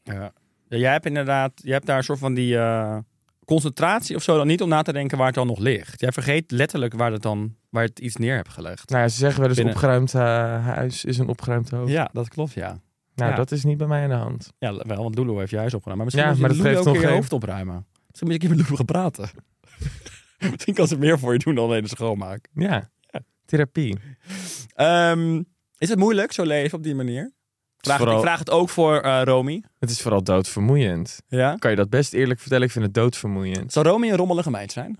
Speaker 2: Ja. Ja, jij hebt inderdaad, jij hebt daar een soort van die eh, concentratie of zo dan niet om na te denken waar het dan nog ligt. Jij vergeet letterlijk waar het dan, waar het iets neer hebt gelegd.
Speaker 3: Nou ja, ze zeggen wel eens
Speaker 2: Binnen-
Speaker 3: opgeruimd eh, huis is een opgeruimd hoofd.
Speaker 2: Ja, dat klopt, ja.
Speaker 3: Nou,
Speaker 2: Ja.
Speaker 3: dat is niet bij mij aan de hand.
Speaker 2: Ja, wel, want Lulu heeft je huis opgenomen. Maar misschien
Speaker 3: Ja,
Speaker 2: moet je met
Speaker 3: maar dat
Speaker 2: Lulu
Speaker 3: geeft
Speaker 2: ook
Speaker 3: nog
Speaker 2: weer je
Speaker 3: geen-
Speaker 2: hoofd opruimen. Misschien moet je een keer met Lulu gaan praten. misschien kan ze meer voor je doen dan alleen de schoonmaak.
Speaker 3: Ja. Therapie.
Speaker 2: Ehm, is het moeilijk zo leven op die manier? Vraag,
Speaker 3: vooral-
Speaker 2: Ik vraag het ook voor eh, Romy.
Speaker 3: Het is vooral doodvermoeiend.
Speaker 2: Ja?
Speaker 3: Kan je dat best eerlijk vertellen? Ik vind het doodvermoeiend.
Speaker 2: Zou Romy een rommelige meid zijn?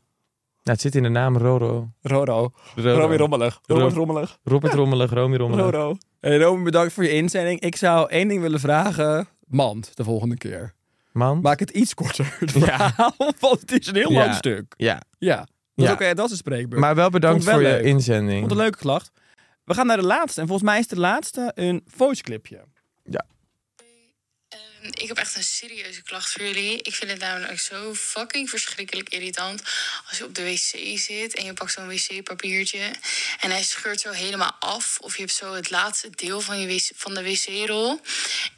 Speaker 3: Nou, het zit in de naam Roro.
Speaker 2: Roro.
Speaker 3: Roro.
Speaker 2: Romy rommelig.
Speaker 3: Ro-
Speaker 2: Robert rommelig.
Speaker 3: Robert Rommelig, Romy Rommelig.
Speaker 2: Roro. Hey, Romy, bedankt voor je inzending. Ik zou één ding willen vragen. Mand, de volgende keer.
Speaker 3: Man.
Speaker 2: Maak het iets korter. Het verhaal, want het is een heel
Speaker 3: Ja.
Speaker 2: lang stuk.
Speaker 3: Ja.
Speaker 2: Ja. Dat, is
Speaker 3: Ja.
Speaker 2: ook, eh, dat is een spreekbeurt.
Speaker 3: Maar wel bedankt
Speaker 2: Vond het
Speaker 3: voor
Speaker 2: wel
Speaker 3: je
Speaker 2: leuk.
Speaker 3: inzending.
Speaker 2: Vond een leuke klacht. We gaan naar de laatste. En volgens mij is de laatste een voice clipje.
Speaker 5: Ehm, Ik heb echt een serieuze klacht voor jullie. Ik vind het namelijk zo fucking verschrikkelijk irritant als je op de wc zit en je pakt zo'n wc-papiertje en hij scheurt zo helemaal af. Of je hebt zo het laatste deel van, je wc, van de wc-rol.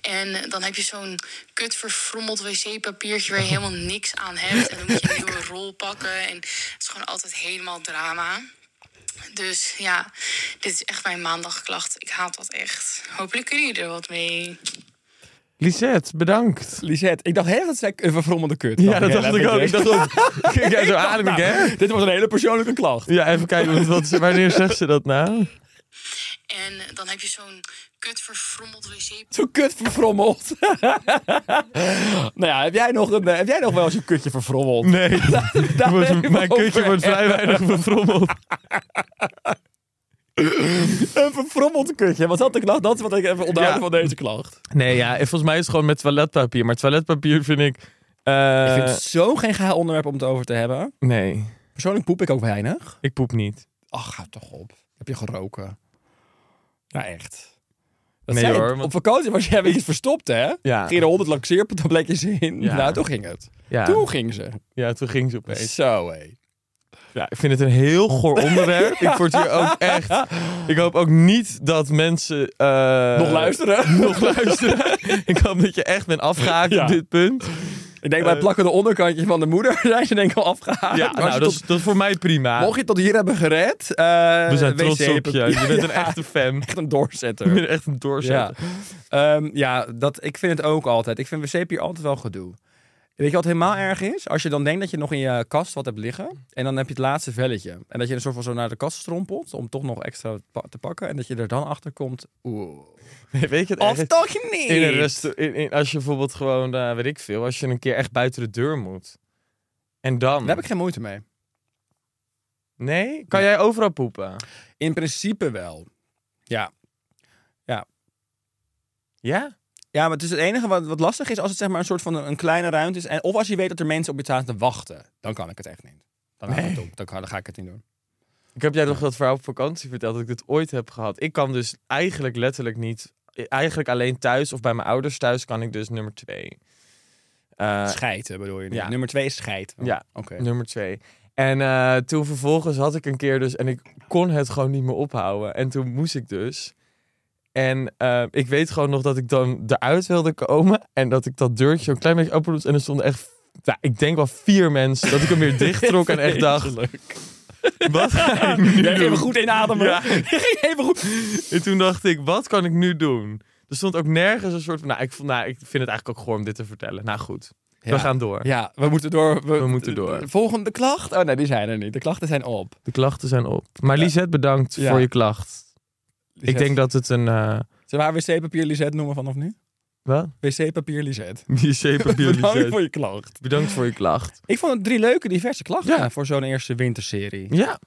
Speaker 5: En dan heb je zo'n kut verfrommeld wc-papiertje waar je helemaal niks aan hebt. En dan moet je een nieuwe rol pakken. En het is gewoon altijd helemaal drama. Dus ja, dit is echt mijn maandagklacht. Ik haat dat echt. Hopelijk kunnen jullie er wat mee.
Speaker 3: Lisette, bedankt.
Speaker 2: Lisette, ik dacht heel dat zij een verfrommelde kut.
Speaker 3: Ja, dat dacht ik ook. Ik dacht ook. Kijk, jij zo
Speaker 2: dacht,
Speaker 3: adem ik,
Speaker 2: nou,
Speaker 3: hè?
Speaker 2: Dit was een hele persoonlijke klacht.
Speaker 3: Ja, even kijken. want Wat, wanneer zegt ze dat nou?
Speaker 5: En dan heb je zo'n kut verfrommeld wc.
Speaker 2: Zo kut verfrommeld. nou ja, heb jij, nog een, eh, heb jij nog wel eens een kutje verfrommeld?
Speaker 3: Nee.
Speaker 2: Daar
Speaker 3: Wordt-
Speaker 2: heb ik
Speaker 3: mijn
Speaker 2: over.
Speaker 3: kutje wordt vrij weinig verfrommeld.
Speaker 2: Een verfrommeld kutje. Was dat de klacht? Dat is wat ik even onthouden
Speaker 3: Ja.
Speaker 2: van deze klacht.
Speaker 3: Nee, ja. Volgens mij is het gewoon met toiletpapier. Maar toiletpapier vind ik... eh,
Speaker 2: ik vind het zo geen gaar onderwerp om het over te hebben.
Speaker 3: Nee,
Speaker 2: Persoonlijk poep ik ook weinig.
Speaker 3: ik poep niet.
Speaker 2: Ach, ga toch op. Heb je geroken? Ja, echt. Dat
Speaker 3: Nee
Speaker 2: zei-
Speaker 3: hoor, want-
Speaker 2: Op vakantie was jij weer iets verstopt, hè?
Speaker 3: Ja.
Speaker 2: Ging je er honderd laxeertabletjes in.
Speaker 3: Ja.
Speaker 2: Nou, toen ging het.
Speaker 3: Ja.
Speaker 2: Toen ging ze.
Speaker 3: Ja, toen ging ze opeens.
Speaker 2: Zo, hé.
Speaker 3: Ja, ik vind het een heel goor onderwerp. Ik word hier ook echt. Ik hoop ook niet dat mensen. eh,
Speaker 2: Nog luisteren?
Speaker 3: Nog luisteren. ik hoop dat je echt bent afgehaakt
Speaker 2: Ja.
Speaker 3: op dit punt.
Speaker 2: Ik denk, wij plakken de onderkantje van de moeder. Zijn ze denk ik al afgehaald.
Speaker 3: Eh. Ja,
Speaker 2: Maar als
Speaker 3: nou,
Speaker 2: je
Speaker 3: dat,
Speaker 2: tot-
Speaker 3: is, dat is voor mij prima.
Speaker 2: Mocht je het tot hier hebben gered? eh,
Speaker 3: We zijn trots op je.
Speaker 2: wc-papier.
Speaker 3: Je bent een
Speaker 2: Ja,
Speaker 3: echte fan.
Speaker 2: echt een
Speaker 3: Je
Speaker 2: doorzetter.
Speaker 3: bent echt een doorzetter.
Speaker 2: Ja, Ehm, ja dat, ik vind het ook altijd. Ik vind wc-papier altijd wel gedoe. Weet je wat helemaal erg is? Als je dan denkt dat je nog in je kast wat hebt liggen. En dan heb je het laatste velletje. En dat je een soort van zo naar de kast strompelt. Om toch nog extra pa- te pakken. En dat je er dan achter komt. Oeh.
Speaker 3: Nee, Weet je het
Speaker 2: Of
Speaker 3: echt?
Speaker 2: toch niet?
Speaker 3: In een rest, in, in- als je bijvoorbeeld gewoon, eh, weet ik veel, als je een keer echt buiten de deur moet. En dan?
Speaker 2: Daar heb ik geen moeite mee.
Speaker 3: Nee? Kan jij overal poepen?
Speaker 2: In principe wel. Ja.
Speaker 3: Ja?
Speaker 2: Ja, maar het is het enige wat, wat lastig is als het zeg maar een soort van een, een kleine ruimte is. En, of als je weet dat er mensen op je staan te wachten. Dan kan ik het echt niet. Dan, hou ik het op. dan, kan- dan ga ik het niet doen.
Speaker 3: Ik heb jij nog dat verhaal op vakantie verteld dat ik dit ooit heb gehad. Ik kan dus eigenlijk letterlijk niet. Eigenlijk alleen thuis of bij mijn ouders thuis kan ik dus nummer twee. Eh,
Speaker 2: Scheiden bedoel je nu.
Speaker 3: ja.
Speaker 2: Nummer twee is scheid. Oh,
Speaker 3: Ja.
Speaker 2: Oké.
Speaker 3: nummer twee. En eh, toen vervolgens had ik een keer dus en ik kon het gewoon niet meer ophouden. En toen moest ik dus. En eh, ik weet gewoon nog dat ik dan eruit wilde komen en dat ik dat deurtje een klein beetje open doet en er stonden echt, nou, ik denk wel vier mensen dat ik hem weer dicht trok en echt dacht. Wat ga ik nu
Speaker 2: Ja,
Speaker 3: doen?
Speaker 2: even goed inademen.
Speaker 3: Ja.
Speaker 2: even goed.
Speaker 3: En toen dacht ik, wat kan ik nu doen? Er stond ook nergens een soort van... Nou, ik, vond, nou, ik vind het eigenlijk ook goor om dit te vertellen. Nou goed,
Speaker 2: Ja.
Speaker 3: we gaan door.
Speaker 2: Ja, we moeten door.
Speaker 3: We moeten door.
Speaker 2: Volgende klacht? Oh nee, die zijn er niet. De klachten zijn op.
Speaker 3: De klachten zijn op. Maar Lisette, bedankt
Speaker 2: Ja.
Speaker 3: voor je klacht. Ik
Speaker 2: Lisette-
Speaker 3: denk dat het een... eh,
Speaker 2: Zullen we haar wc-papier Lisette noemen vanaf nu?
Speaker 3: wat?
Speaker 2: Wc-papier Lisette.
Speaker 3: Die zeepapier,
Speaker 2: Bedankt
Speaker 3: Lisette.
Speaker 2: voor je klacht.
Speaker 3: Bedankt voor je klacht.
Speaker 2: Ik vond het drie leuke, diverse klachten
Speaker 3: Ja.
Speaker 2: voor zo'n eerste winterserie.
Speaker 3: Ja.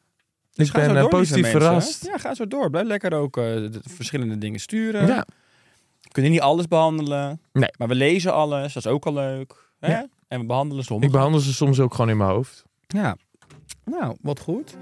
Speaker 2: Dus
Speaker 3: ik
Speaker 2: ga zo
Speaker 3: ben
Speaker 2: door,
Speaker 3: eh,
Speaker 2: lieve
Speaker 3: positief
Speaker 2: mensen.
Speaker 3: verrast.
Speaker 2: Ja, ga zo door. Blijf lekker ook eh, de- de verschillende dingen sturen.
Speaker 3: Ja.
Speaker 2: We kunnen niet alles behandelen.
Speaker 3: Nee.
Speaker 2: Maar we lezen alles. Dat is ook al leuk. Hè?
Speaker 3: Ja.
Speaker 2: En we behandelen sommige.
Speaker 3: Ik behandel ze soms ook gewoon in mijn hoofd.
Speaker 2: Ja. Nou, wat goed.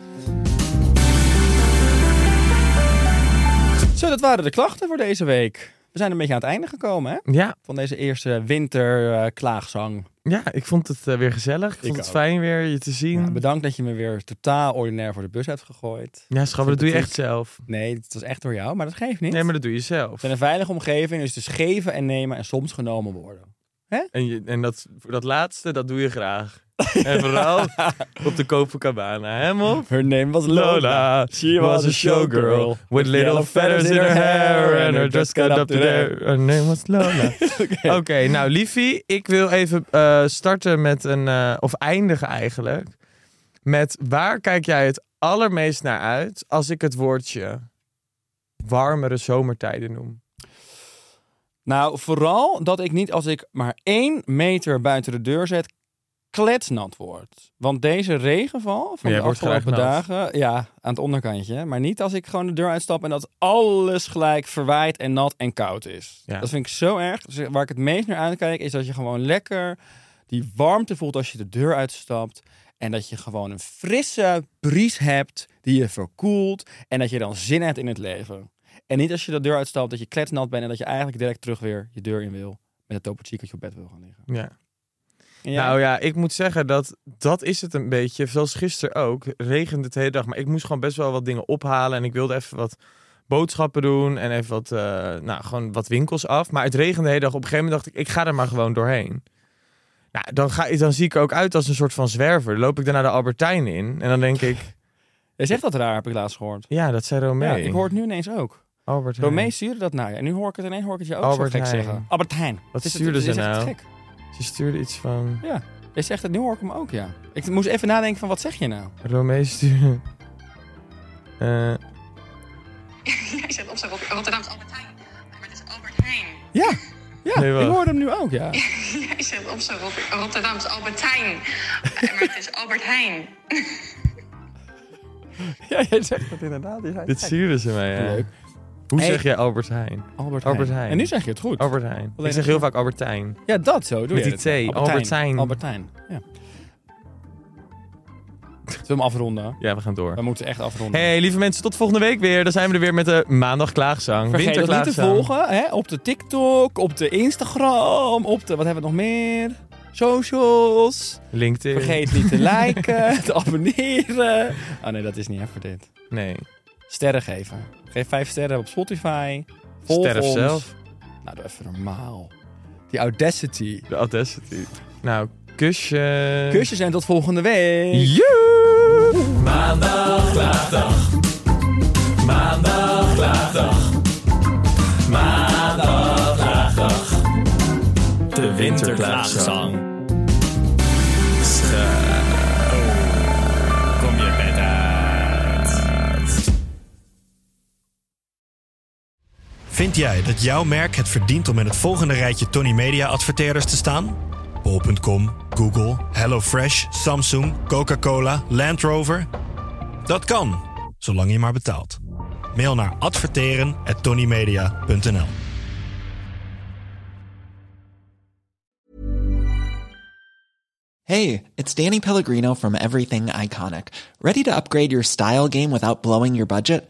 Speaker 2: Zo, dat waren de klachten voor deze week. We zijn een beetje aan het einde gekomen, hè?
Speaker 3: Ja,
Speaker 2: Van deze eerste winterklaagzang.
Speaker 3: ja ik vond het eh, weer gezellig. Ik vond
Speaker 2: Ik
Speaker 3: het
Speaker 2: ook.
Speaker 3: fijn weer je te zien. Ja,
Speaker 2: bedankt dat je me weer totaal ordinair voor de bus hebt gegooid.
Speaker 3: schat, dat doe je
Speaker 2: Sympathiek.
Speaker 3: echt zelf.
Speaker 2: Nee, het was echt door jou, maar dat geeft niet.
Speaker 3: Nee, maar dat doe je zelf.
Speaker 2: Het is een veilige omgeving, dus dus geven en nemen en soms genomen worden.
Speaker 3: En, je, en dat, dat laatste, dat doe je graag. En vooral op de Copacabana. Helemaal.
Speaker 2: Her name was
Speaker 3: Lola, she was a showgirl with little feathers in her hair and her dress cut up to there. Her name was Lola. Oké, nou Liefie, ik wil even eh, starten met een, eh, of eindigen eigenlijk, met waar kijk jij het allermeest naar uit als ik het woordje warmere zomertijden noem?
Speaker 2: Nou, vooral dat ik niet als ik maar één meter buiten de deur zet, kletsnat word. Want deze regenval van
Speaker 3: Jij
Speaker 2: de
Speaker 3: wordt
Speaker 2: afgelopen
Speaker 3: graag nat.
Speaker 2: dagen, ja, aan het onderkantje. Maar niet als ik gewoon de deur uitstap en dat alles gelijk verwaaid en nat en koud is.
Speaker 3: Ja.
Speaker 2: Dat vind ik zo erg. Dus waar ik het meest naar uitkijk is dat je gewoon lekker die warmte voelt als je de deur uitstapt. En dat je gewoon een frisse bries hebt die je verkoelt. En dat je dan zin hebt in het leven. En niet als je de deur uitstapt dat je kletsnat bent en dat je eigenlijk direct terug weer je deur in wil. Met het topo chico dat je op bed wil gaan liggen.
Speaker 3: Ja.
Speaker 2: En jij?
Speaker 3: Nou ja, ik moet zeggen dat dat is het een beetje. Zoals gisteren ook, regende het de hele dag. Maar ik moest gewoon best wel wat dingen ophalen. En ik wilde even wat boodschappen doen. En even wat, eh, nou, gewoon wat winkels af. Maar het regende de hele dag. Op een gegeven moment dacht ik, ik ga er maar gewoon doorheen. Nou, dan, ga, dan zie ik er ook uit als een soort van zwerver. Dan loop ik daarna de Albertijn in. En dan denk ik,
Speaker 2: Jij zegt dat raar, heb ik laatst gehoord.
Speaker 3: ja, dat zei Romee.
Speaker 2: Ja, ik hoor het nu ineens ook.
Speaker 3: Albert Heijn.
Speaker 2: Romee stuurde dat naar je. En nu hoor ik het ineens hoor ik het je ook
Speaker 3: Albert
Speaker 2: zo gek
Speaker 3: Heijn.
Speaker 2: zeggen. Albert Heijn.
Speaker 3: Wat
Speaker 2: Het is-
Speaker 3: stuurde
Speaker 2: het is
Speaker 3: ze
Speaker 2: echt
Speaker 3: nou?
Speaker 2: gek.
Speaker 3: Ze stuurde iets van...
Speaker 2: Ja. Jij zegt het, nu hoor ik hem ook, ja. Ik moest even nadenken van, wat zeg je nou?
Speaker 3: Romee stuurde... Eh,
Speaker 5: Jij zit op zijn Rotterdamse Albert Heijn. Maar het is Albert Heijn.
Speaker 2: Ja, ja
Speaker 3: Nee, wacht.
Speaker 2: ik hoor hem nu ook, ja.
Speaker 5: Jij zit op zijn Rotterdamse Albert Heijn. Maar het is Albert Heijn.
Speaker 2: ja jij zegt het inderdaad. die zijn
Speaker 3: dit
Speaker 2: gek.
Speaker 3: stuurde ze mij, ja.
Speaker 2: Leuk.
Speaker 3: Hoe
Speaker 2: Hey.
Speaker 3: zeg jij Albert Heijn?
Speaker 2: Albert,
Speaker 3: Albert
Speaker 2: Heijn.
Speaker 3: Heijn.
Speaker 2: En nu zeg je het goed.
Speaker 3: Albert Heijn.
Speaker 2: Alleen
Speaker 3: ik zeg
Speaker 2: dat-
Speaker 3: heel vaak Albertijn.
Speaker 2: Ja, dat zo. Doe
Speaker 3: Met
Speaker 2: je
Speaker 3: die
Speaker 2: dat.
Speaker 3: T, Albertijn.
Speaker 2: Albertijn, ja. Zullen we hem afronden?
Speaker 3: Ja, we gaan
Speaker 2: We
Speaker 3: door.
Speaker 2: moeten echt afronden.
Speaker 3: Hey, lieve mensen, tot volgende week weer. Dan zijn we er weer met de maandag klaagzang.
Speaker 2: Vergeet ons niet te
Speaker 3: Winterklaagzang.
Speaker 2: volgen hè? op de TikTok, op de Instagram, op de... Wat hebben we nog meer? Socials.
Speaker 3: LinkedIn.
Speaker 2: Vergeet niet te liken, te abonneren. Oh nee, dat is niet echt voor dit.
Speaker 3: Nee.
Speaker 2: Sterren geven. Geef vijf sterren op Spotify. Volg
Speaker 3: Sterf
Speaker 2: ons.
Speaker 3: zelf.
Speaker 2: Nou, doe even normaal. Die audacity.
Speaker 3: De audacity. Nou, kusje.
Speaker 2: Kusjes en tot volgende week.
Speaker 3: Joe!
Speaker 1: Maandag klaagdag. Maandag klaagdag. Maandag klaagdag. De winterklaagzang. Schuil. Kom je bed uit.
Speaker 6: Vind jij dat jouw merk het verdient om in het volgende rijtje Tony Media adverteerders te staan? Bol.com, Google, HelloFresh, Samsung, Coca-Cola, Land Rover? Dat kan, zolang je maar betaalt. Mail naar adverteren@tonymedia.nl.
Speaker 7: Hey, it's Danny Pellegrino from Everything Iconic. Ready to upgrade your style game without blowing your budget?